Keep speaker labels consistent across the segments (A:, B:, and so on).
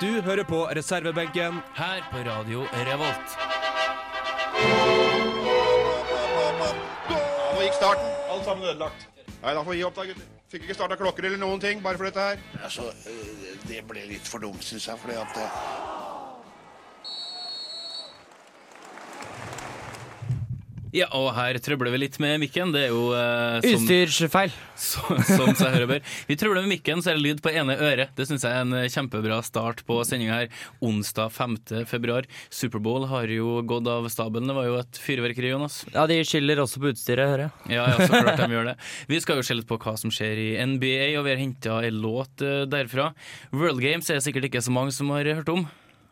A: Du hører på reservebenken.
B: Her på Radio Revolt.
C: Nå gikk starten.
D: Alt sammen ødelagt.
C: Nei, da får vi gi opp, da, gutter. Fikk ikke starta klokker eller noen ting, bare for dette her.
E: Altså, eh, det ble litt for dumt, syns jeg. fordi at eh,
B: Ja, og her trøbler vi litt med mikken. Det er jo eh, som,
F: Utstyrsfeil.
B: som, som seg hører bør. Vi trøbler med mikken, så er det lyd på ene øret. Det syns jeg er en eh, kjempebra start på sendinga her. Onsdag 5. februar. Superbowl har jo gått av stabelen. Det var jo et fyrverkeri, Jonas.
F: Ja, de skylder også på utstyret, hører jeg.
B: Ja, ja, så klart de gjør det. Vi skal jo se litt på hva som skjer i NBA, og vi har henta en låt eh, derfra. World Games er det sikkert ikke så mange som har hørt om.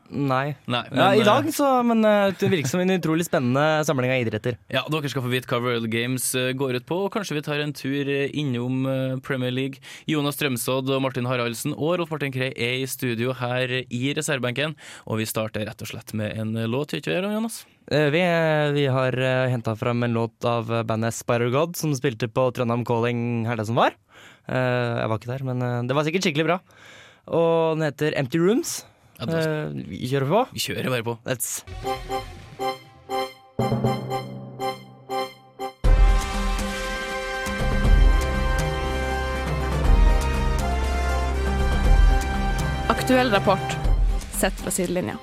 F: Nei.
B: Nei,
F: ja,
B: men,
F: I dag,
B: eh,
F: så, men eh, det virker som en utrolig spennende samling av idretter.
B: Ja, Dere skal få vite hva World Games eh, går ut på, og kanskje vi tar en tur eh, innom eh, Premier League. Jonas Strømsodd og Martin Haraldsen og Rolf Martin Krei er i studio her i reservebenken, og vi starter rett og slett med en eh, låt, gjør ikke vi det, Jonas?
F: Eh, Vi, vi har uh, henta fram en låt av eh, bandet Spider God, som spilte på Trondheim Calling helga som var. Eh, jeg var ikke der, men eh, det var sikkert skikkelig bra. Og den heter Empty Rooms.
B: Ja, da-
F: Eh, vi kjører på.
B: Vi kjører bare på.
F: Let's.
G: Aktuell rapport sett fra sidelinja.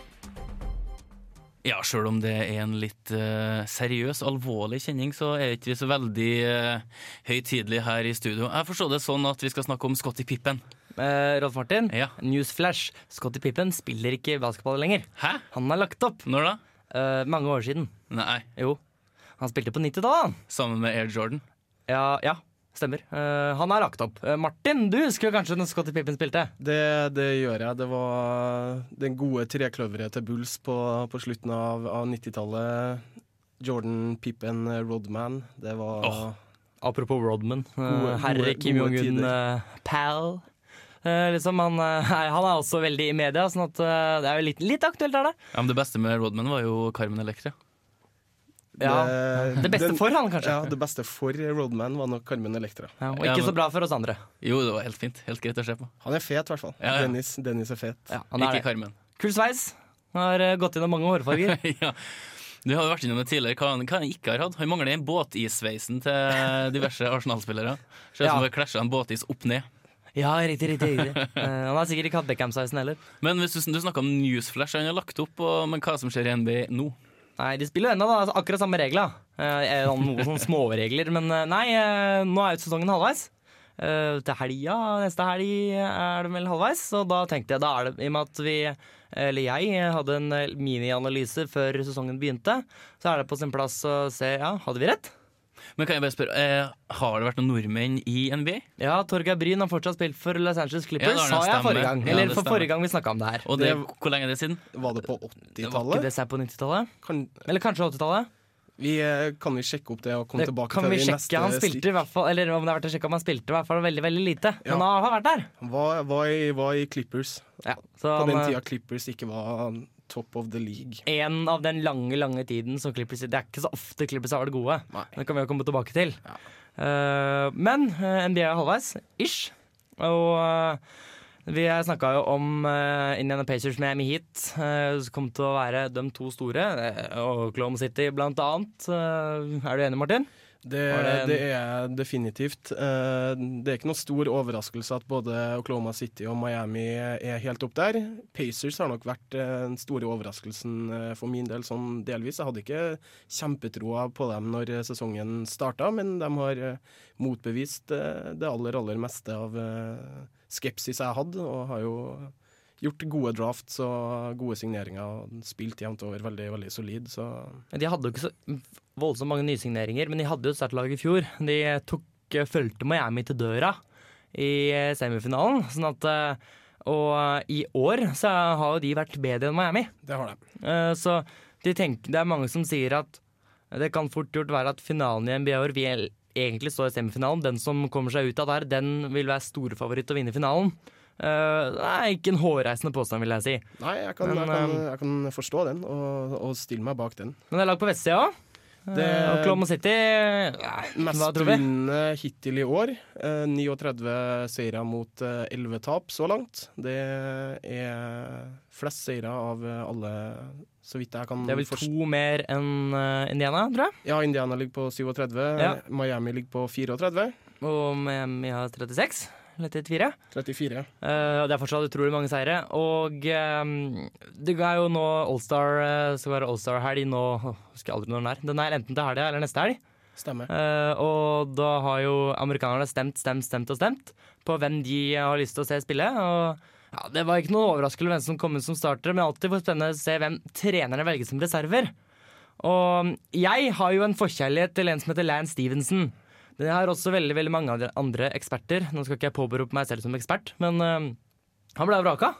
B: Ja, sjøl om det er en litt eh, seriøs, alvorlig kjenning, så er ikke vi så veldig eh, høytidelig her i studio. Jeg forstår det sånn at vi skal snakke om Scotty Pippen.
F: Eh, Rolf Martin,
B: Ja.
F: newsflash. Scotty Pippen spiller ikke basketball lenger.
B: Hæ?
F: Han har lagt opp.
B: Når da?
F: eh, mange år siden.
B: Nei,
F: Jo. Han spilte på 90 da, han.
B: sammen med Air Jordan.
F: Ja, ja stemmer. Eh, han har lagt opp. Eh, Martin, du husker jo kanskje når Scotty Pippen spilte?
H: Det, det gjør jeg. Det var den gode trekløveret til Bulls på, på slutten av, av 90-tallet. Jordan, Pippen, eh, Rodman. Det var
B: Åh.
F: Apropos Rodman. eh,
H: Gode-
F: Herre
H: gode-
F: Kim
H: gode
F: Jong-un,
H: tider.
F: eh, pal. Eh, liksom han, eh, han er også veldig i media, sånn at eh, det er jo litt, litt aktuelt, er det?
B: Ja, men det beste med Rodman var jo Carmen Electra.
F: Ja. Det beste for han, kanskje?
H: Ja, det beste for Rodman var nok Carmen Electra.
F: Ja, og
B: Ja,
F: ikke
B: men-
F: så bra for oss andre.
B: Jo, det var helt fint. Helt greit å se på.
H: Han er fet, i hvert fall.
B: Ja, ja.
H: Dennis, Dennis er fet.
F: Ja, han er
B: Ikke
F: det.
B: Carmen.
F: Kul sveis. Han har eh, gått gjennom mange hårfarger.
B: ja. Du har jo vært innom det tidligere. Hva han, hva han ikke har hatt? Han mangler den båtissveisen til diverse Arsenal-spillere. Ser ut
F: Ja.
B: som om det klasjer en båtis opp ned.
F: Ja, riktig, riktig. riktig. Eh, han har sikkert ikke hatt Beckham-sveisen heller.
B: Men hvis du, du snakka om newsflash, han har lagt opp, og, men hva som skjer i NBA nå?
F: Nei, de spiller jo ennå, da. altså Akkurat samme regler. Eh, eh, noen sånne småregler. Men eh, nei, eh, nå er jo sesongen halvveis. Eh, til helga, neste helg, er det vel halvveis. Så da tenkte jeg, da er det i og med at vi, eller jeg, hadde en eh, minianalyse før sesongen begynte, så er det på sin plass å se Ja, hadde vi rett?
B: Men kan jeg bare spørre, eh, Har det vært noen nordmenn i NBA?
F: Ja, Torgeir Bryn har fortsatt spilt for Los Angeles Clippers,
B: Ja, det
F: sa
B: har det,
F: jeg
B: stemmer.
F: forrige gang.
B: Ja,
F: Eller
B: det
F: for
B: stemmer.
F: forrige gang vi snakka om det her.
B: Og det, Hvor lenge er det siden?
H: Var det på
F: Ikke
H: 80-tallet?
F: det seg på 90-tallet?
H: Kan,
F: Eller kanskje 80-tallet?
H: vi, eh, kan vi sjekke opp det og komme
F: Det
H: tilbake
F: kan
H: til
F: vi
H: det i
F: sjekke. Han
H: neste
F: spilte i hvert fall Eller om det er verdt å sjekke om han spilte i hvert fall veldig veldig lite.
H: Ja.
F: Men han har vært der.
H: Han var, var, i, var i Clippers.
F: Ja. Så han,
H: På den
F: eh,
H: tida Clippers ikke var top of the league.
F: en av den lange, lange tiden som Clippers Det er ikke så ofte Clippers har vært gode.
H: Nei.
F: Det kan vi jo komme tilbake til. Eh, men eh, NBA er halvveis, ish. Og eh, vi snakka jo om eh, Indiana Pacers med Miami Heat, eh, som kom til å være de to store. eh, og Oklahoma City, blant annet. Eh, er du enig, Martin?
H: Det,
F: Var det en-
H: det er definitivt. Eh, Det er ikke noe stor overraskelse at både Oklahoma City og Miami er helt opp der. Pacers har nok vært eh, den store overraskelsen eh, for min del, sånn delvis. Jeg hadde ikke kjempetroa på dem når eh, sesongen starta, men de har eh, motbevist eh, det aller, aller meste av eh, skepsis jeg hadde, og har jo gjort gode drafts og gode signeringer. og Spilt jevnt over veldig, veldig solid, så
F: De hadde jo ikke så voldsomt mange nysigneringer, men de hadde jo et sterkt lag i fjor. De tok, eh, fulgte Miami til døra i semifinalen. Sånn at, eh, og eh, i år så har jo de vært bedre enn Miami.
H: det har de.
F: Eh, Så de tenker, det er mange som sier at det kan fort gjort være at finalen i NBA i år vil egentlig stå i semifinalen. Den som kommer seg ut av der, den vil være storfavoritt til å vinne finalen. Eh, Det er ikke en hårreisende påstand, vil jeg si.
H: Nei, jeg kan,
F: Men,
H: jeg kan,
F: eh,
H: jeg kan forstå den og, og stille meg bak den.
F: Men det er lag på vestsida òg.
H: Det
F: Eh, Oklahoma City Hva
H: Mest
F: tror vi?
H: vinnende hittil i år. Eh, 39 seire mot eh, 11 tap så langt. Det er flest seire av eh, alle, så vidt jeg kan
F: Det er vel
H: forstå.
F: to mer enn eh, Indiana, tror jeg.
H: Ja, Indiana ligger på 37,
F: Ja.
H: Miami ligger på 34.
F: Og Miami har 36. Eller 34.
H: 34.
F: Eh, og det er fortsatt utrolig mange seire. Og eh, det er jo nå Allstar uh, skal være Allstar-helg nå åh, Husker jeg aldri når den er. Den er enten til helga eller neste helg.
H: Stemmer.
F: Eh, og da har jo amerikanerne stemt, stemt, stemt og stemt på hvem de har lyst til å se spille. Og ja, Det var ikke noe overraskende hvem som kom ut som startere, men alltid for spennende å se hvem trenerne velger som reserver. Og jeg har jo en forkjærlighet til en som heter Lance Stevenson. Men jeg har også veldig veldig mange andre- andre eksperter. Nå skal ikke jeg påberope meg selv som ekspert, men eh, han ble vraka.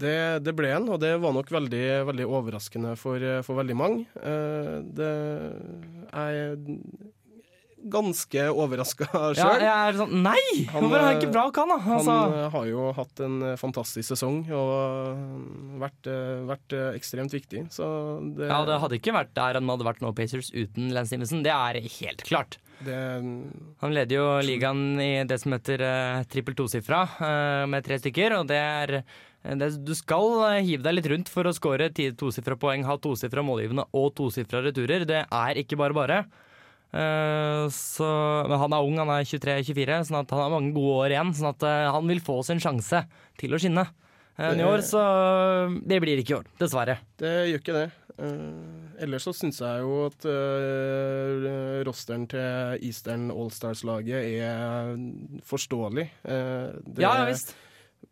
H: Det, det ble en, og det var nok veldig, veldig overraskende for, for veldig mange. Eh, Det er ganske overraska
F: Ja,
H: sjøl.
F: jeg er sånn Nei!
H: Han,
F: Hvorfor er han
H: eh,
F: ikke vrak, han, da?
H: Han
F: Altså,
H: eh, har jo hatt en eh, fantastisk sesong og eh, vært, eh, vært eh, ekstremt viktig. Så det,
F: ja, det hadde ikke vært der han hadde vært nå, Pacers, uten Lance Stevenson. Det er helt klart.
H: det-
F: Han leder jo ligaen i det som heter eh, trippel tosifra, eh, med tre stykker. Og det er det, Du skal eh, hive deg litt rundt for å skåre tosifra poeng, ha tosifra målgivende og tosifra returer. Det er ikke bare bare. Eh, så, men han er ung, han er 23-24, sånn at han har mange gode år igjen. Sånn at eh, han vil få sin sjanse til å skinne. Eh, men I år, så Det blir ikke i år, dessverre.
H: Det gjør ikke det. Eh, ellers så syns jeg jo at eh, rosteren til Eastern Allstars-laget er forståelig. Eh, det-
F: Ja, ja visst.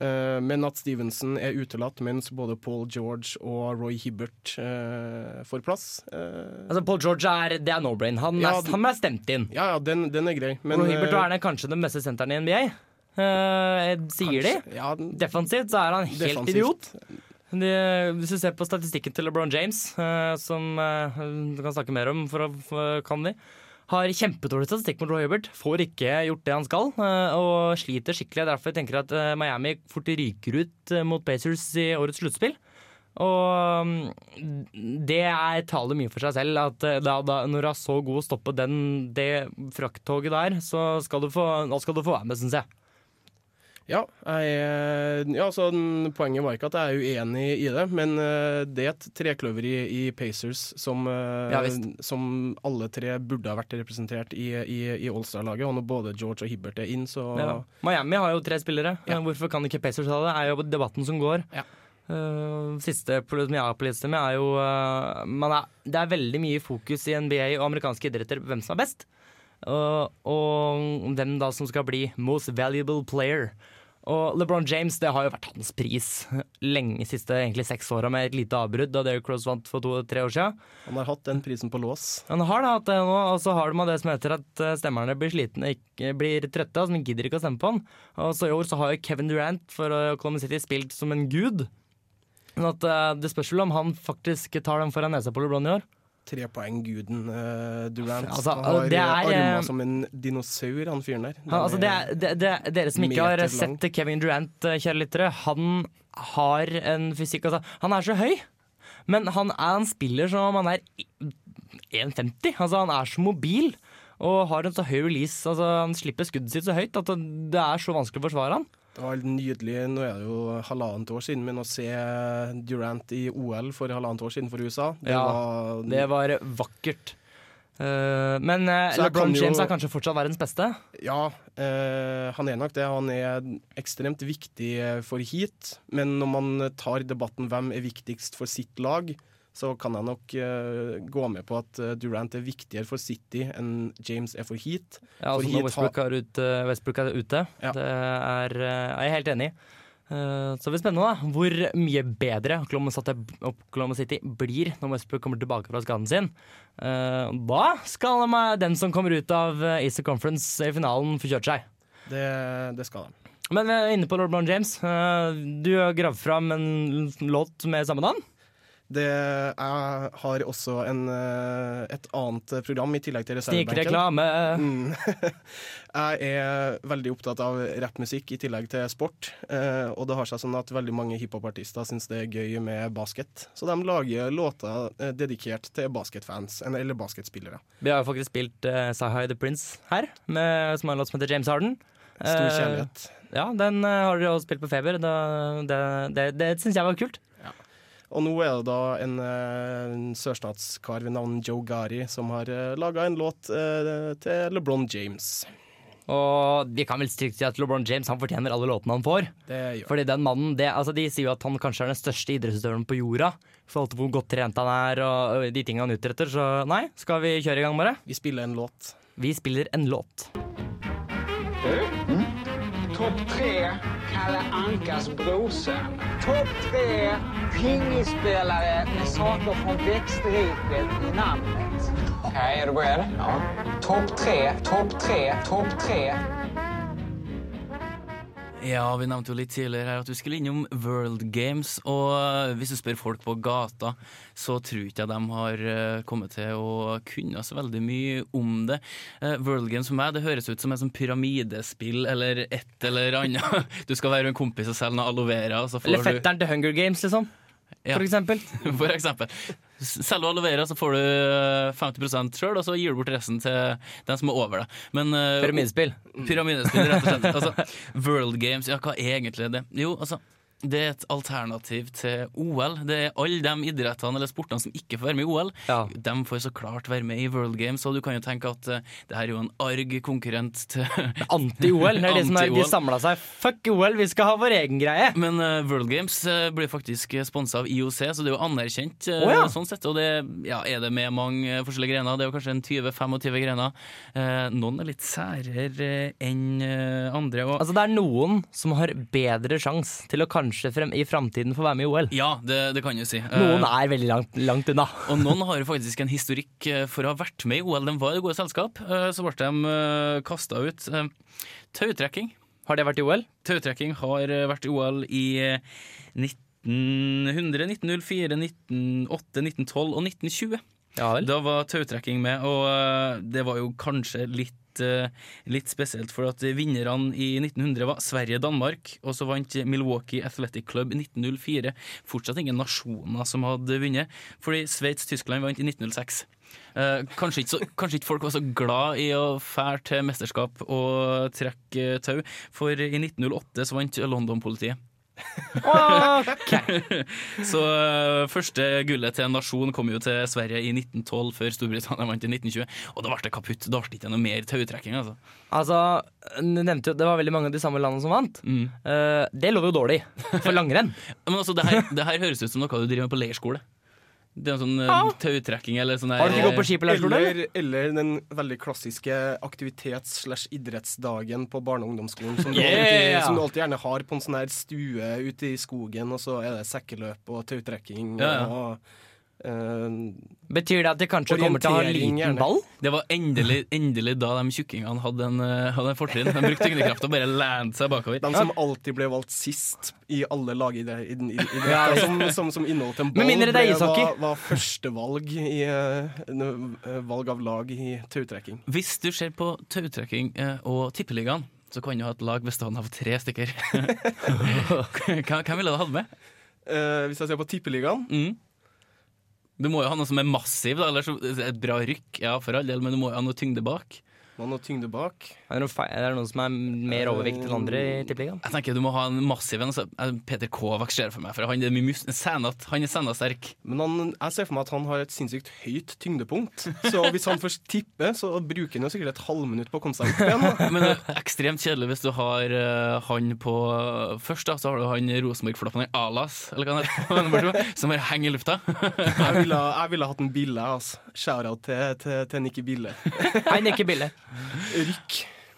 H: eh, men at Stevenson er utelatt mens både Paul George og Roy Hibbert eh, får plass eh,
F: Altså, Paul George er, det er no-brain. Han,
H: Ja,
F: er-
H: den-
F: han er stemt inn.
H: Ja, ja, den, den er grei. Men
F: Roy Hibbert
H: eh,
F: er kanskje den beste senteren i NBA. Eh, sier de.
H: kanskje- Ja, den-
F: Defensivt så er han helt
H: defensivt.
F: idiot. De, hvis du ser på statistikken til LeBron James, eh, som eh, du kan snakke mer om, for, å- for kan vi, har kjempedårlig statistikk mot Roy Hibbert. Får ikke gjort det han skal, eh, og sliter skikkelig. Derfor tenker jeg at eh, Miami fort ryker ut eh, mot Pacers i årets sluttspill. Og mm, det er, taler mye for seg selv. At eh, da, da, når du er så god å stoppe den, det frakttoget der, så skal du få, da skal du få være med, syns jeg.
H: Ja, jeg, eh, ja så den- poenget var ikke at jeg er uenig i det, men eh, det er et trekløver i, i Pacers som, eh,
F: Ja, visst.
H: som alle tre burde ha vært representert i, i, i All-Star-laget. Og når både George og Hibbert er inn, så
F: Ja. Miami har jo tre spillere. Eh, Hvorfor kan ikke Pacers ha det? er jo debatten som går.
H: Ja.
F: Eh, siste polit- som jeg har på lista mi, er jo eh, man er, Det er veldig mye fokus i NBA og amerikanske idretter på hvem som er best. Eh, og hvem da som skal bli most valuable player. Og LeBron James det har jo vært hans pris lenge siste egentlig seks åra, med et lite avbrudd da Derrick Rose vant for to-tre år sia.
H: han har hatt den prisen på lås.
F: Han har da hatt det eh, nå, og så har de det som heter at eh, stemmerne blir slitne, ikke, blir trøtte, altså de gidder ikke å stemme på han. Og så i år så har jo Kevin Durant for eh, Oklahoma City spilt som en gud. Men at eh, det spørs vel om han faktisk tar den foran nesa på LeBron i år.
H: Trepoengguden uh, Durant.
F: Altså,
H: han har
F: det er, eh,
H: armer som en dinosaur, han fyren der.
F: Han, altså det er, det, det, dere som ikke har
H: meter lang.
F: sett Kevin Durant, eh, kjære lyttere, han har en fysikk altså, Han er så høy, men han, er, han spiller som om han er i- 1,50. Altså, han er så mobil og har en så høy release. Altså, han slipper skuddet sitt så høyt at det er så vanskelig å forsvare han.
H: Det var nydelig, nå er det jo halvannet år siden, men å se Durant i OL for halvannet år siden for USA, det
F: Ja,
H: var
F: Det var vakkert. Eh, men eh,
H: Så jeg
F: LeBron
H: kan jo-
F: James er kanskje fortsatt verdens beste.
H: Ja, eh, han er nok det. Han er ekstremt viktig eh, for heat. Men når man tar debatten hvem er viktigst for sitt lag, så kan jeg nok eh, gå med på at eh, Durant er viktigere for City enn James er for heat.
F: Ja,
H: For
F: altså når
H: hit
F: Westbrook, er ute, Westbrook er ute.
H: Ja.
F: Det er, eh, er jeg helt enig i. Eh, Så det blir spennende da, hvor mye bedre Oklahoma City- Oklahoma City blir når Westbrook kommer tilbake fra skaden sin. Eh, Da skal de- eh, den som kommer ut av eh, Easter Conference i finalen, få kjørt seg.
H: Det, det skal de.
F: Men vi er inne på LeBron James. Eh, Du har gravd fram en låt med samme navn.
H: Det, jeg har også en, eh, et annet program i tillegg til reservebenken.
F: Snikreklame.
H: Mm. jeg er veldig opptatt av rappmusikk i tillegg til sport. eh, Og det har seg sånn at veldig mange hiphopartister syns det er gøy med basket. Så de lager låter eh, dedikert til basketfans en- eller basketspillere.
F: Vi har jo faktisk spilt uh, Sahai The Prince her, med, som har en låt som heter James Harden.
H: Stor
F: Eh,
H: kjærlighet.
F: ja, den eh, har dere også spilt på Feber. Da, det det, det syns jeg var kult.
H: Og nå er det da en, eh, en sørstatskar ved navn Joe Gari som har laga en låt eh, til LeBron James.
F: Og vi kan vel strikt si at LeBron James han fortjener alle låtene han får.
H: Det gjør
F: Fordi den mannen, det, altså De sier jo at han kanskje er den største idrettsutøveren på jorda. I forhold til hvor godt trent han er og og de tingene han utretter. Så nei, skal vi kjøre i gang, bare?
H: Vi spiller en låt.
F: Vi spiller en låt.
D: Topp tre Kalle Ankas brorsan. Topp tre pingisspelare med saker från växtriket i namnet. Okej, är du beredd? Ja. Topp tre, topp tre, topp tre.
B: Ja, vi nevnte jo litt tidligere her at du skulle innom World Games. Og eh, hvis du spør folk på gata, så tror ikke jeg de har eh, kommet til å kunne så veldig mye om det. Eh, World Games for meg, det høres ut som en sånn pyramidespill eller et eller annet. Du skal være med en kompis og selge noe aloe vera, og så får
F: Eller
B: du
F: fetteren til Hunger Games, liksom.
B: Ja.
F: For eksempel.
B: For eksempel. Selger du aloe vera, så får du eh, 50 sjøl, og så gir du bort resten til den som er over deg. Men eh,
F: Pyramidespill.
B: Pyramidespill, rett og slett. Altså, World Games, ja, hva er egentlig det? Jo, altså, det er et alternativ til OL. Det er alle de idrettene eller sportene som ikke får være med i OL.
F: Ja.
B: De får så klart være med i World Games, og du kan jo tenke at eh, det her er jo en arg konkurrent til
F: Anti-OL. Det er de som er, de
B: Anti-OL.
F: samla seg. Fuck OL, vi skal ha vår egen greie.
B: Men eh, World Games eh, blir faktisk sponsa av IOC, så det er jo anerkjent. eh,
F: Å, ja.
B: sånn sett, og det ja, er det med mange eh, forskjellige grener. Det er jo kanskje en 20-25 grener. Eh, noen er litt særere enn eh, andre. Og
F: Altså Det er noen som har bedre sjanse til å kanskje frem, i framtiden få være med i OL.
B: ja, det, det kan du si. Eh,
F: Noen er veldig langt, langt unna.
B: Og noen har jo faktisk en historikk eh, for å ha vært med i OL. De var i det gode selskap, eh, så ble de kasta ut. Eh, Tautrekking.
F: Har det vært i OL?
B: Tautrekking har eh, vært i OL i eh, 1900, 1904, 1908, 1912 og 1920.
F: Ja vel.
B: Da var tautrekking med, og eh, det var jo kanskje litt eh, Litt spesielt, for at vinnerne i 1900 var Sverige-Danmark, og så vant Milwaukee Athletic Club i 1904. Fortsatt ingen nasjoner som hadde vunnet, fordi Sveits-Tyskland vant i 1906. Eh, kanskje, ikke så, kanskje ikke folk var så glad i å fære til mesterskap og trekke eh, tau, for i 1908 så vant London-politiet. Så ø, første gullet til en nasjon kom jo til Sverige i 1912, før Storbritannia vant i 1920. Og da ble det kaputt. Da ble det ikke noe mer tautrekking, altså.
F: Altså, du nevnte jo at det var veldig mange av de samme landene som vant. Eh, det lover jo dårlig for langrenn.
B: Mm. Men altså, det her, det her høres ut som noe du driver med på leirskole. Det er en sånn ø, tautrekking eller sånn der-
F: Har du ikke gått på ski på leirskole? eller?
H: Eller, eller den veldig klassiske aktivitets-slash-idrettsdagen på barne- og ungdomsskolen, som, du
F: Yeah!
H: alltid, som du alltid gjerne har på en sånn her stue ute i skogen, og så er det sekkeløp og tautrekking
B: Ja, ja.
H: og eh,
F: Betyr det at de kanskje kommer til å ha en
H: Orientering,
F: liten
H: gjerne.
F: ball?
B: Det var endelig, endelig da de tjukkingene hadde en, ø, hadde en fortrinn. De brukte tyngdekraft og bare lente seg bakover.
H: De som alltid ble valgt sist i alle lagidretter som, som, som inneholdt en
F: Med
H: ball,
F: mindre det er ishockey.
H: var, var førstevalg i eh, n- eh, valg av lag i tautrekking.
B: Hvis du ser på tautrekking ø, og tippeligaen, så kan du ha et lag bestående av tre stykker. Hvem hvem ville du hatt med?
H: Eh, hvis jeg ser på Tippeligaen
B: Mm. Du må jo ha noe som er massiv, da, ellers så- et bra rykk, ja, for all del, men du må jo ha noe tyngde bak.
H: Man har tyngde bak.
F: Er det, noen feil, er det noen som er mer overvektig enn andre i tippeligaen?
B: Jeg tenker du må ha en massiv en. så- eh, Peter Kovac ser jeg for meg, for han er mye mus senat, han er senasterk.
H: Men han, jeg ser for meg at han har et sinnssykt høyt tyngdepunkt. Så hvis han først tipper, så bruker han jo sikkert et halvminutt på å komme seg opp igjen. da.
B: Men det er ekstremt kjedelig hvis du har eh, han på Først da, så har du han Rosenborg-flappen, han Alas, eller hva han heter, han borte, som bare henger i lufta.
H: Jeg ville, jeg ville hatt en Bille. Altså. Shout-out til, til, til Nikki Bille.
F: Hei, Nikke Bille.
H: Rykk.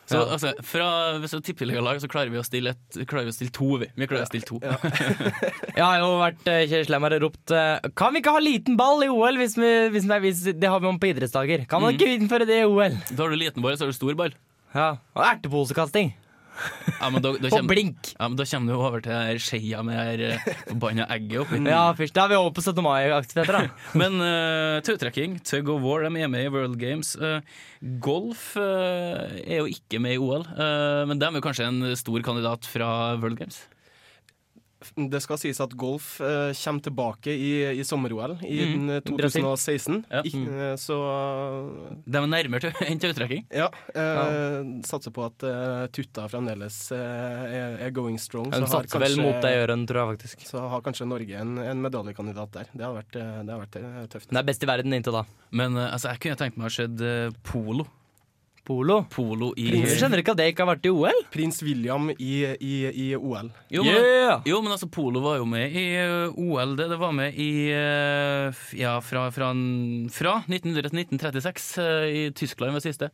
B: Så altså, fra, hvis du tipper lag, så klarer vi å stille, et, klarer vi å stille to, vi. Vi klarer å stille to.
F: Jeg har jo vært eh, Kjell Sleim har ropt eh, Kan vi ikke ha liten ball i OL? Hvis vi, hvis det er- hvis det har vi om på Mm. idrettsdager. Kan man ikke innføre det i OL?
B: Da har du liten ball, så har du stor ball.
F: Ja, Og erteposekasting.
B: Ja, men da, da
F: På
B: kommer-
F: blink!
B: Ja, men Da kommer du over til det her skeia med det her, eh, forbanna egget oppi.
F: Ja, først da er vi over på 17. mai-aktiviteter, da.
B: Men uh, tautrekking, tug of war, de er med i World Games. Eh, golf eh, er jo ikke med i OL, eh, men de er jo kanskje en stor kandidat fra World Games.
H: Det skal sies at golf eh, kommer tilbake i, i sommer-OL i
B: Mm.
H: den, eh, 2016.
B: Ja.
H: Ik- eh, så
B: De er nærmere til, enn tautrekking.
H: ja, eh, satser på at eh, tutta fremdeles eh, er, er going strong.
F: Hun
H: har
F: satser vel
H: kanskje-
F: mot det i øren, tror jeg faktisk.
H: så har kanskje Norge en, en medaljekandidat der. Det har vært, eh, det har vært eh, tøft.
F: Den er best i verden inntil da.
B: Men eh, altså, jeg kunne tenkt meg å ha sett eh, polo.
F: Polo.
B: Polo i
F: Jeg skjønner ikke at det ikke har vært i OL.
H: Prins William i, i, i OL.
B: Jo, men, jo, men altså, polo var jo med i eh, OL. Det, det var med i eh, f- Ja, fra, fra, en- fra 1900 til 1936 eh, i Tyskland var siste.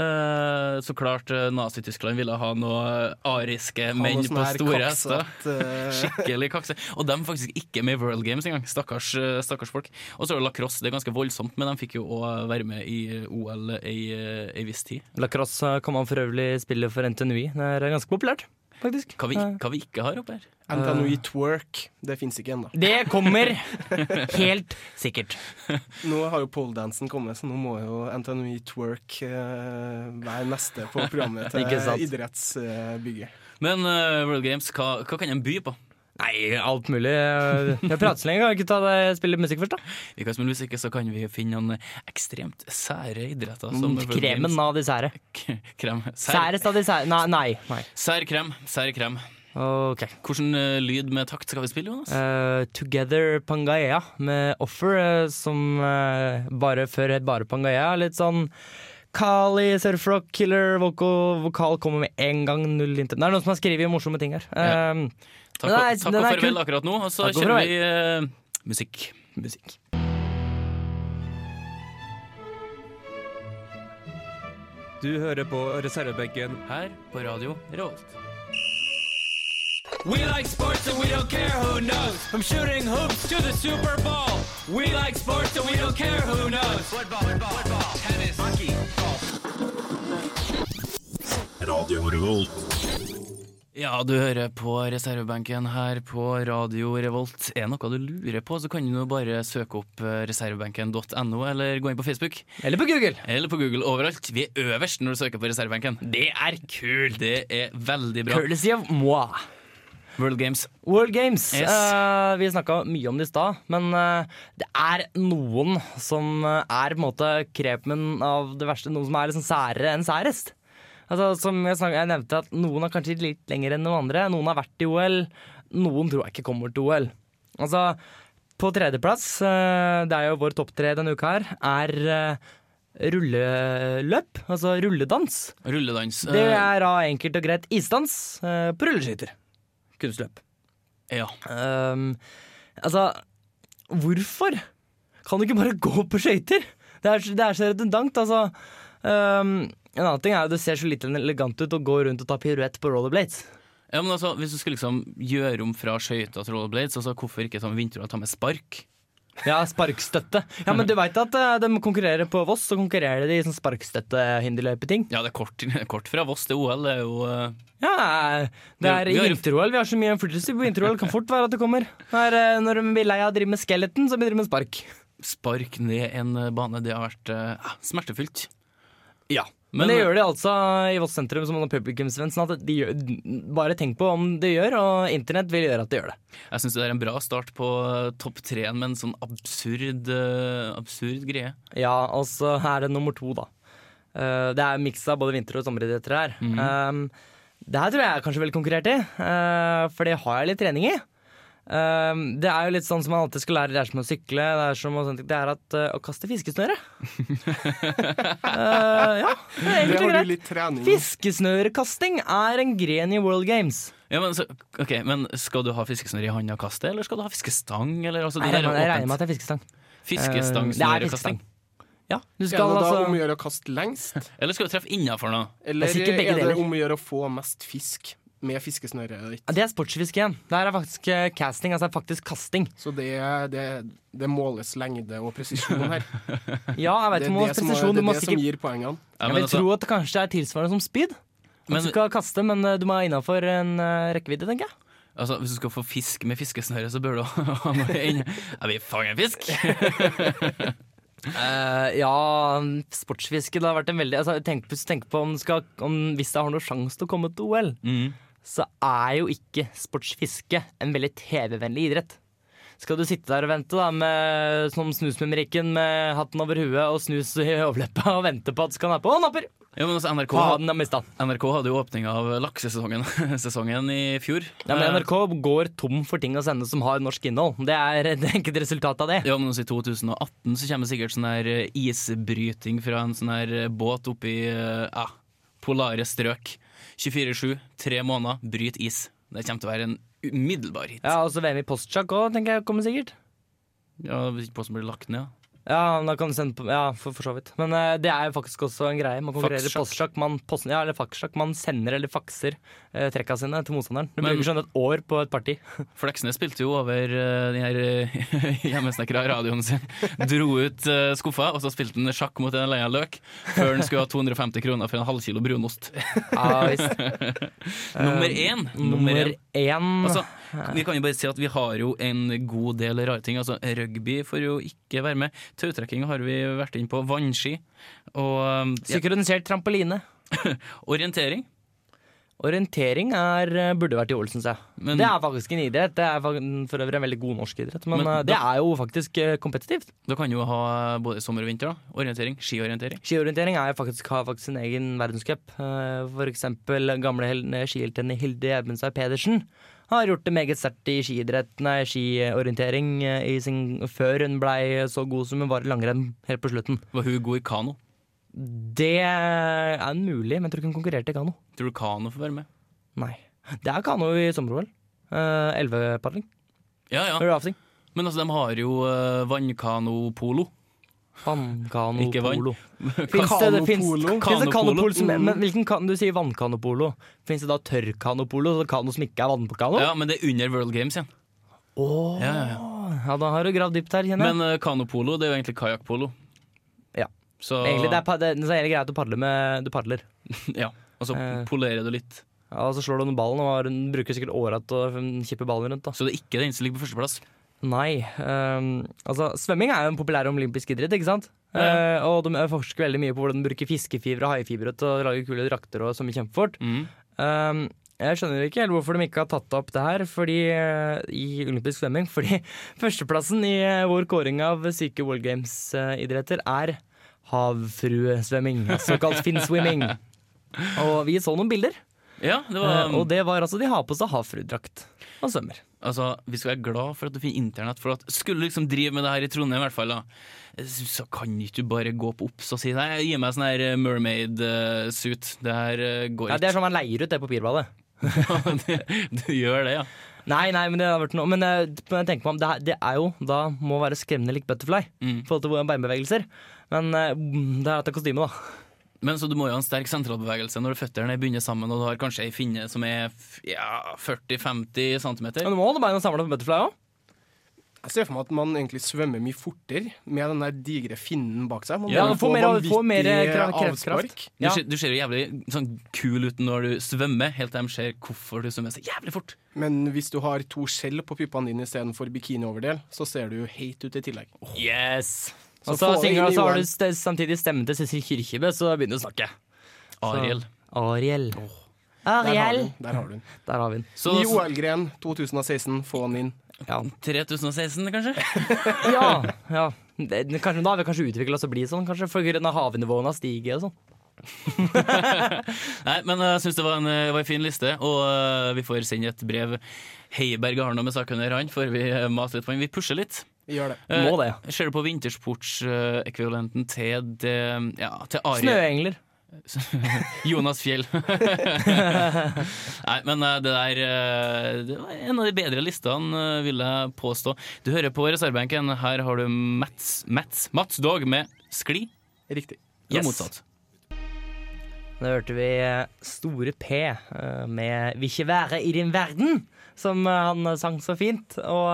B: Eh, så klart eh, Nazi-Tyskland ville ha noe eh, ariske
H: Han
B: menn
H: var sånn
B: på
H: her
B: store hester.
H: kaksatt,
F: altså.
H: eh,
B: Skikkelig kakse. Og de er faktisk ikke med i World Games engang. Stakkars, eh, stakkars folk. Og så er det lacrosse. Det er ganske voldsomt, men de fikk jo òg være med i eh, OL ei, eh, ei viss tid.
F: Lacrosse kan man eh, for øvrig spille for NTNUI. Det er eh, ganske populært, faktisk.
B: Hva vi,
F: Eh,
B: hva vi ikke har oppe her?
H: NTNUI Twerk. Det fins ikke ennå.
F: Det kommer helt sikkert.
H: Nå har jo poledansen kommet, så nå må jo NTNUI Twerk eh, være neste på programmet til
F: Ikke sant.
H: idrettsbygget.
B: Men eh, World Games, hva, hva kan de by på?
F: Nei, alt mulig. Eh, Jeg prater så lenge, kan vi ikke ta det, spille musikk først, da?
B: Vi kan spille musikk, så kan vi finne noen ekstremt sære idretter. Som World
F: Mm, Kremen
B: Games.
F: av de sære.
B: Krem. Sær,
F: Særest av de sære Nei. nei, nei.
B: sær krem. Sær krem.
F: Ok.
B: Hvordan eh, lyd med takt skal vi spille, Jonas?
F: Eh, Together Pangaea med Offer, eh, som eh, bare før het bare Pangaea. Litt sånn Kali, surfrock, killer, voko, vokal kommer med en gang, null intet. Det er noen som har skrevet morsomme ting her.
B: Ja.
F: Eh,
B: Takk,
F: Nei,
B: og- takk
F: den
B: og
F: er
B: farvel
F: kul.
B: akkurat nå, og så
F: Takk og
B: kjører vi eh, musikk.
F: musikk.
A: Du hører på reservebenken.
B: Her på Radio Revolt.
I: We like sports and we don't care who knows. From shooting hoops to the Super Bowl. We like sports and we don't care who knows. Football, football, football, tennis, hockey, golf.
B: Ja, du hører på reservebenken her på Radio Revolt. Er det noe du lurer på, så kan du nå bare søke opp eh, reservebenken.no, eller gå inn på Facebook.
F: Eller på Google.
B: Eller på Google overalt. Vi er øverst når du søker på reservebenken. Det er kult! Det er veldig bra.
F: Courtesy of moi.
B: World Games.
F: World Games.
B: Yes.
F: Eh, vi snakka mye om det i stad, men eh, det er noen som eh, er på en måte krepen av det verste. Noen som er liksom særere enn særest. Altså, som jeg, snak- jeg nevnte at Noen er kanskje litt lenger enn noen andre. Noen har vært i OL. Noen tror jeg ikke kommer til OL. Altså, på tredjeplass, eh, det er jo vår topp tre denne uka her, er eh, rulleløp. Altså rulledans.
B: Rulledans.
F: Det
B: Eh,
F: er da enkelt og greit isdans eh, på rulleskøyter. Kunstløp.
B: eh, Ja.
F: Ehm, altså, hvorfor kan du ikke bare gå på skøyter? Det er, så- det er så redundant, altså. Ehm, en annen ting er at det ser så litt elegant ut å gå rundt og ta piruett på rollerblades.
B: ja, men altså, hvis du skulle liksom gjøre om fra skøyter til rollerblades, altså, hvorfor ikke ta med vinterhår og ta med spark?
F: Ja, sparkstøtte. Ja, men du veit at eh, de konkurrerer på Voss, så konkurrerer de i sånn sparkstøttehinderløypeting.
B: Ja, det er kort, kort fra Voss til OL. Det er jo eh,
F: Ja, det er
B: Vi har-
F: vinter-OL. Vi har så mye innflytelse på vinter-OL. Kan fort være at det kommer. Når, eh, når de blir lei av å drive med skeleton, så begynner de med spark.
B: spark ned en bane. Det har vært eh, smertefullt.
F: Ja.
B: Men-
F: Men, det gjør de altså i Voss sentrum som en publikumsvenn. Sånn at de gjør, bare tenk på om det gjør, og internett vil gjøre at det gjør det.
B: Jeg syns det er en bra start på eh, topp treen med en sånn absurd, eh, absurd greie.
F: Ja, og så er det nummer to, da. Eh, det er miks av både vinter- og sommeridretter her. Um, det her tror jeg jeg kanskje ville konkurrert i, eh, for det har jeg litt trening i. Um, det er jo litt sånn som man alltid skal lære, det er som å sykle, det er, som å, det er at, eh, å kaste fiskesnøre. Eh, ja, det er
H: Det
F: egentlig
H: har du
F: greit.
H: litt trening i.
F: Fiskesnørekasting er en gren i World Games.
B: Ja, men, så, ok, men skal du ha fiskesnøre i handa og kaste, eller skal du ha fiskestang? Eller, altså,
F: Jeg
B: det der
F: regner,
B: er
F: jeg
B: åpent.
F: regner med at det er fiskestang.
B: Fiskestang,
F: Eh, det er fiskestang.
B: snørekasting.
F: Ja, du
H: Er
F: skal
H: det da om å
F: altså
H: gjøre å kaste lengst,
B: Eller skal du treffe innafor noe?
H: eller
F: sikkert
H: er,
F: begge
H: det
F: deler.
H: om å gjøre å få mest fisk med fiskesnøre?
F: Ja, Det er sportsfiske igjen. Det her er faktisk eh, casting, altså faktisk kasting.
H: Så det, det, det måles lengde og presisjon her.
F: Ja, jeg
H: Det
F: vet
H: er
F: ikke om
H: det som,
F: presisjon,
H: det
F: du
H: er
F: må
H: det som
F: sikkert
H: gir
B: Ja,
H: poengene.
F: Jeg
B: men
F: vil
B: altså,
F: tro at det kanskje er tilsvarende som speed.
B: Men
F: Du skal kaste, men eh, du må være innafor en eh, rekkevidde, tenker jeg.
B: altså, hvis du skal få fisk med fiskesnøre, så bør du ha noe inn. Ja, vi fanger en fisk!
F: Eh, ja, sportsfiske. Det har vært en veldig altså, tenk, på- tenk på om, du skal, om Hvis det har noen sjanse til å komme til OL,
B: Mm.
F: så er jo ikke sportsfiske en veldig TV-vennlig idrett. Skal du sitte der og vente da, med, som snusmumrikken med hatten over huet og snus i overleppa og vente på at du skal nappe? Å, napper!
B: Ja, men altså, NRK,
F: Faen, jeg mista den.
B: NRK hadde jo åpning av laksesesongen sesongen i fjor. Eh,
F: Ja, men NRK går tom for ting å sende som har norsk innhold. Det er, det er ikke et resultat av det.
B: Ja, men også I 2018 så kommer det sikkert sånn her eh, isbryting fra en sånn her eh, båt oppi eh, ja, polare strøk. 24-7, tre måneder, bryt is. Det kommer til å være en umiddelbar hit.
F: Ja, også VM i postsjakk òg, tenker jeg kommer sikkert.
B: Ja, Hvis ikke posten blir lagt ned. ja.
F: Ja, men da kan du sende på Ja, for, for så vidt. Men eh, det er jo faktisk også en greie. Man konkurrerer i
B: Fakssjakk.
F: postsjakk. Man, post, ja, eller fakssjakk. Man sender eller fakser eh, trekka sine til motstanderen. Du
B: Men-
F: bruker sånn et år på et parti.
B: Fleksnes spilte jo over eh, den her eh, hjemmesnekra radioen sin. Dro ut eh, skuffa, og så spilte han sjakk mot en leia løk før han skulle ha 250 kroner for en halvkilo brunost.
F: Ja, visst.
B: Nummer én! Nummer
F: Nummer
B: én.
F: én
B: Altså, vi kan jo bare si at vi har jo en god del rare ting. Altså, rugby får jo ikke være med. Tautrekking har vi vært inne på. Vannski. Og um, ja,
F: Synkronisert trampoline.
B: orientering.
F: Orientering er, eh, burde vært i OL, syns jeg.
B: Men-
F: det er faktisk en idrett. Det er fak- for øvrig en veldig god norsk idrett, men,
B: Men
F: eh, det
B: da-
F: er jo faktisk eh, kompetitivt.
B: Da kan jo ha både sommer og vinter. da. Orientering. Skiorientering.
F: Skiorientering er jo faktisk, har faktisk sin egen verdenscup. Eh, For eksempel gamle hel- eh, skiheltene Hilde Gjermundstad Pedersen har gjort det meget sterkt i skiidrett, nei, skiorientering eh, i sin, før hun blei så god som hun var i langrenn helt på slutten.
B: Var hun god i kano?
F: Det er mulig, men jeg tror ikke hun konkurrerte i kano.
B: Tror du kano får være med?
F: Nei. Det er kano i sommer-OL. Eh, Elvepadling.
B: Ja, ja.
F: Rafting.
B: Men altså, de har jo uh, vannkanopolo.
F: Vannkano
B: Ikke vann.
F: polo. Finnes det, det finnes,
H: Kanopolo.
F: finnes det
B: Kanopolo.
F: kanopol som Men hvilken kan du sier vannkanopolo? Fins det da tørrkanopolo? Så kano som ikke er vannpokano?
B: Ja, men det er under World Games igjen.
F: Åh,
B: Ja, ja, ja.
F: ja, da har du gravd dypt her, kjenner jeg.
B: Men uh, kanopolo, det er jo egentlig kajakkpolo.
F: Ja.
B: Så
F: Egentlig det er, pa- det, så er det greit å padle med Du padler.
B: Ja. Og så
F: Eh.
B: polerer du litt.
F: Ja, og så slår du den ballen, og har- den bruker sikkert åra til å mm, kippe ballen rundt. da.
B: Så det er ikke den som ligger på førsteplass.
F: Nei. ehm, altså, svømming er jo en populær olympisk idrett, ikke sant?
B: Ja.
F: Eh, og de forsker veldig mye på hvordan de bruker fiskefibre og haifibre til å lage kule drakter og svømme kjempefort.
B: Mm.
F: Ehm, jeg skjønner ikke helt hvorfor de ikke har tatt opp det her fordi, eh, i olympisk svømming. Fordi førsteplassen i eh, vår kåring av syke World Games-idretter er havfruesvømming. Såkalt finswimming. Og vi så noen bilder,
B: Ja, det var mm,
F: eh, og det var altså de har på seg havfruedrakt og svømmer.
B: Altså, Vi skal være glad for at du finner internett. For at Skulle du liksom drive med det her i Trondheim, i hvert fall da så kan ikke du bare gå på Ops og si Nei, gi meg sånn her eh, mermaid eh, suit. Det her eh, går
F: Ja, det er sånn man leier ut det papirbadet.
B: ikke. du gjør det, ja.
F: Nei, nei, men det har vært noe Men eh, men jeg tenker meg om, det, er- det er jo da må være skremmende lik butterfly i
B: Mm.
F: forhold til beinbevegelser. Men eh, det er dette kostymet, da.
B: Men så du må jo ha en sterk sentralbevegelse når føttene begynner sammen, og du har kanskje ei finne som er f- ja, 40-50 cm.
F: Men du må holde beina samla på butterfly òg.
H: Jeg ser for meg at man egentlig svømmer mye fortere med den der digre finnen bak seg. Man
F: Ja,
H: må
F: du får mer-
H: vanvittig
F: får mer eh, kra-
H: avspark.
F: kreftkraft.
B: Du,
F: Ja.
B: ser, du ser jo jævlig sånn kul ut når du svømmer, helt til de ser hvorfor du svømmer så jævlig fort.
H: Men hvis du har to skjell på puppene dine istedenfor bikinioverdel, så ser du jo heit ut i tillegg.
F: Yes!
H: Så
F: Og så,
H: få det
F: synger,
H: inn i
F: og så har
H: jorden.
F: du st samtidig stemmen til Cecil Kyrkjebø, så begynner du å snakke.
B: Ariel.
F: Ariel.
H: Der har du
F: Ariel.
H: den. Der har du den.
F: Der har vi den.
B: Så,
H: Ny OL-gren 2016, få den inn.
F: Ja.
B: 3016, kanskje?
F: ja, ja. Det, det- kanskje, da har vi kanskje utvikla oss til å bli sånn, kanskje. For grunn av havnivåene har stiget og sånn.
B: Nei, men jeg syns det var en, eh, var en fin liste, og eh, vi får sende et brev. Heiberg har noe med saken å gjøre, han, før vi eh, maser litt på han. Vi pusher litt.
H: Gjør det.
B: Eh,
F: Må det.
B: Ser du på vintersportsekvivalenten til det Ja, til Ariel
F: Snøengler.
B: Jonas Fjell. Nei, men eh, det der eh, Det var en av de bedre listene, eh, vil jeg påstå. Du hører på reservebenken. Her har du Mats, Mats, Mats Dog med Skli.
H: Riktig.
B: Eller
F: Yes.
B: motsatt.
F: Da hørte vi Store P eh, med 'Vil ikke være i din verden', som eh, han sang så fint. Og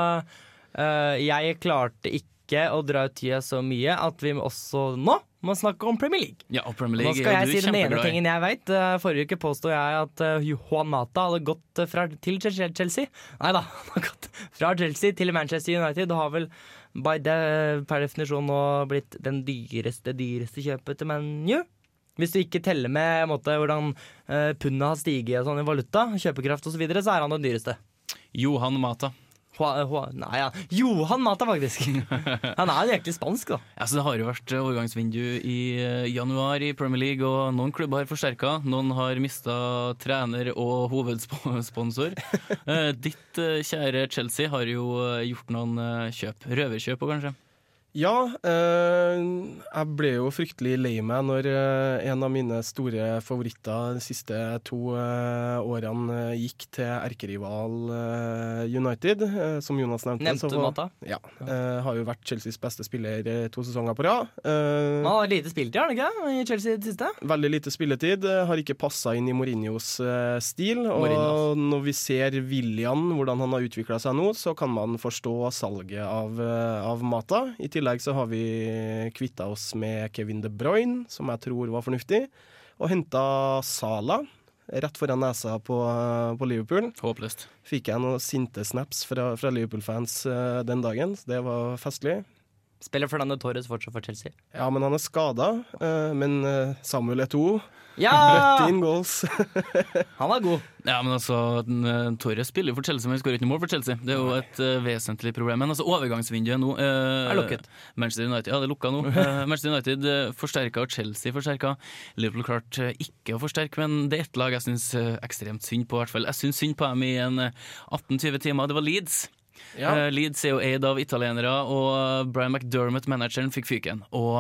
F: eh, jeg klarte ikke å dra ut tida så mye at vi også nå må snakke om Premier League.
B: Ja, og Premier
F: Nå
B: League
F: skal
B: er
F: jeg si
B: jo du
F: den ene
B: kjempeglad i.
F: tingen jeg vet. Eh, Forrige uke påstod jeg at eh, Juan Mata hadde gått eh, fra, til Chel- Chelsea. Nei da, han har gått fra Chelsea til Manchester United og har vel by de, per definisjon nå blitt den dyreste, dyreste kjøpet til ManU. Hvis du ikke teller med på en måte, hvordan uh, pundet har stiget og sånn i valuta, kjøpekraft osv., så, videre, så er han den dyreste.
B: Johan Mata.
F: Hua, Hua, nei, ja. Johan Mata, faktisk. Han er jo egentlig spansk, da.
B: Altså, det har jo vært overgangsvindu i eh, januar i Premier League, og noen klubber har forsterka. Noen har mista trener og hovedsponsor. Eh, Ditt eh, kjære Chelsea har jo eh, gjort noen eh, kjøp. Røverkjøp òg, kanskje.
H: Ja, eh, jeg ble jo fryktelig lei meg når eh, en av mine store favoritter de siste to eh, årene eh, gikk til erkerival eh, United, eh, som Jonas nevnte.
F: Nevnte
H: så
F: du
H: var-
F: Mata?
H: Ja. eh, har jo vært Chelseas beste spiller eh, to sesonger på rad. Eh,
F: Han har lite spiltid, har han ikke? det, I Chelsea i det siste?
H: Veldig lite spilletid, eh, har ikke passa inn i Mourinhos eh, stil. Og
B: Mourinho,
H: når vi ser William, hvordan han har utvikla seg nå, så kan man forstå salget av, eh, av Mata. I tillegg så har vi kvitta oss med Kevin De Bruyne, som jeg tror var fornuftig, og henta Sala. Rett foran nesa på, eh, på Liverpool
B: Håpløst.
H: fikk jeg noen sinte snaps fra, fra Liverpool-fans eh, den dagen. så Det var festlig.
F: Spiller Fernando Torres fortsatt for Chelsea?
H: Ja, men han er skada. Men eh, Samuel Eto'o
F: Ja!
H: bøtte inn goals.
F: Han var god.
B: Ja, men altså, den, eh, Torres spiller jo for Chelsea, men skårer ikke noe mål for Chelsea. Det er jo et eh, vesentlig problem. Men altså, overgangsvinduet nå eh,
F: Er lukket.
B: Manchester United, ja, det er lukka nå. Eh, Manchester United uh, forsterka, og Chelsea forsterka. Liverpool klarte eh, ikke å forsterke, men det er ett lag jeg syns ekstremt synd på. i hvert fall. Jeg syns synd på dem i en eh, 18-20 timer. Det var Leeds. Eh, Leeds er jo eid av italienere, og eh, Brian McDermott, manageren, fikk fyken. Og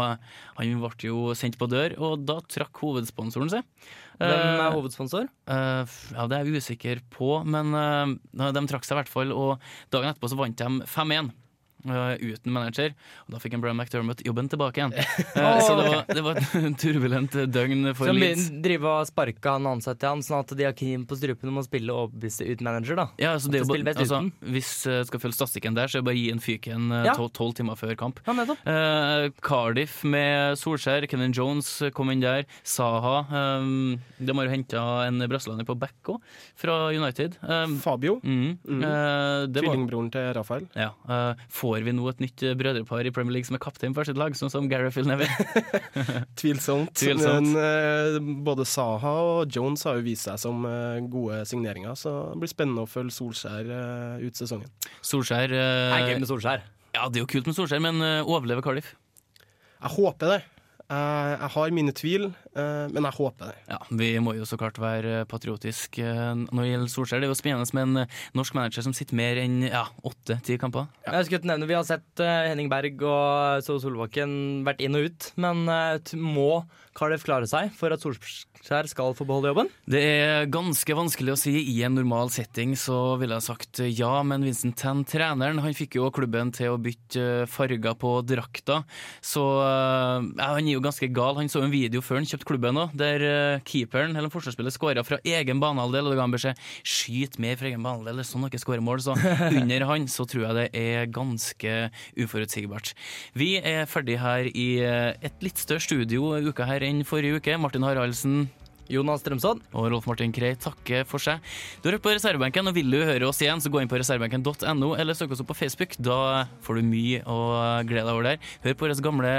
B: han ble jo sendt på dør, og da trakk hovedsponsoren seg.
F: Hvem
B: Eh,
F: er hovedsponsor?
B: Eh, f- ja, det er jeg usikker på, men eh, de trakk seg i hvert fall. Og dagen etterpå så vant de 5-1. eh, uten manager. Og da fikk en Brian McDermott jobben tilbake igjen. Eh, så det var, det var et turbulent døgn for
F: Som
B: Leeds.
F: begynner å drive og sparke han ansatte han, sånn at de har kniven på strupen om å spille overbeviste uten manager, da.
B: Ja, altså, det er jo
F: At det
B: bare,
F: spiller best
B: altså,
F: uten.
B: hvis jeg skal følge statistikken der, så er det bare å gi en fyken
F: Ja.
B: tolv timer før kamp.
F: Ja, nettopp.
B: Eh, Cardiff med Solskjær, Kenan Jones kom inn der. Saha. Um, de har jo henta en brasilianer på back òg, fra United. Um,
H: Fabio.
B: mm, eh, det var
H: Tvillingbroren til Rafael.
B: Ja, eh, Får vi nå et nytt eh, brødrepar i Premier League som er kaptein for sitt lag, sånn som Gary Phil Neville?
H: Tvilsomt.
B: Tvilsomt.
H: Men eh, både Saha og Jones har jo vist seg som eh, gode signeringer, så det blir spennende å følge Solskjær eh, ut sesongen.
B: Solskjær
F: Det er
B: eh,
F: gøy med Solskjær.
B: Ja, det er jo kult med Solskjær, men eh, overlever Cardiff?
H: Jeg håper det. Jeg, jeg har mine tvil, eh, men jeg håper det.
B: Ja, Vi må jo så klart være patriotisk eh, når det gjelder Solskjær. Det er jo spennende med en eh, norsk manager som sitter mer enn ja, åtte-ti kamper.
F: Jeg skulle ikke nevne, Vi har sett eh, Henning Berg og So Solbakken vært inn og ut, men eh, t- må Cardiff klare seg for at Solskjær skal få beholde jobben?
B: Det er ganske vanskelig å si. I en normal setting så ville jeg sagt eh, ja, men Vincent Tan, treneren, han fikk jo klubben til å bytte eh, farger på drakta. Så eh, ja, han er jo ganske gal. Han så en video før han kjøpte klubben òg, der eh, keeperen eller forsvarsspiller skåra fra egen banehalvdel, og det ga han beskjed skyt mer fra egen banehalvdel, det er sånn dere skårer mål. Så under han så tror jeg det er ganske uforutsigbart. Vi er ferdig her i eh, et litt større studio i uka her enn forrige uke. Martin Haraldsen
F: Jonas Strømsodd?
B: og Rolf Martin Krei takker for seg. Du har hørt på reservebenken, og vil du høre oss igjen, så gå inn på reservebenken.no, eller søk oss opp på Facebook. Da får du mye å glede deg over der. Hør på våre gamle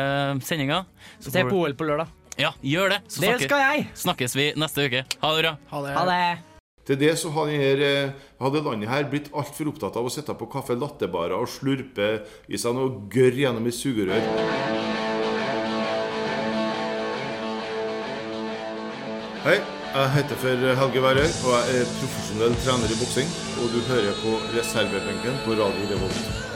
B: sendinger. så
F: Se
B: får
F: på
B: du-
F: OL på lørdag.
B: Ja, gjør det! Så
F: Det
B: snakkes-
F: skal jeg!
B: snakkes vi neste uke. Ha det bra!
F: Ha det!
J: Til det så har denne, hadde landet her blitt altfor opptatt av å sitte på kaffe lattebarer og slurpe i seg noe gørr gjennom et sugerør. Hei, jeg heter for Helge Værøy, og jeg er profesjonell trener i boksing. Og du hører på reservebenken på Radio Revolt.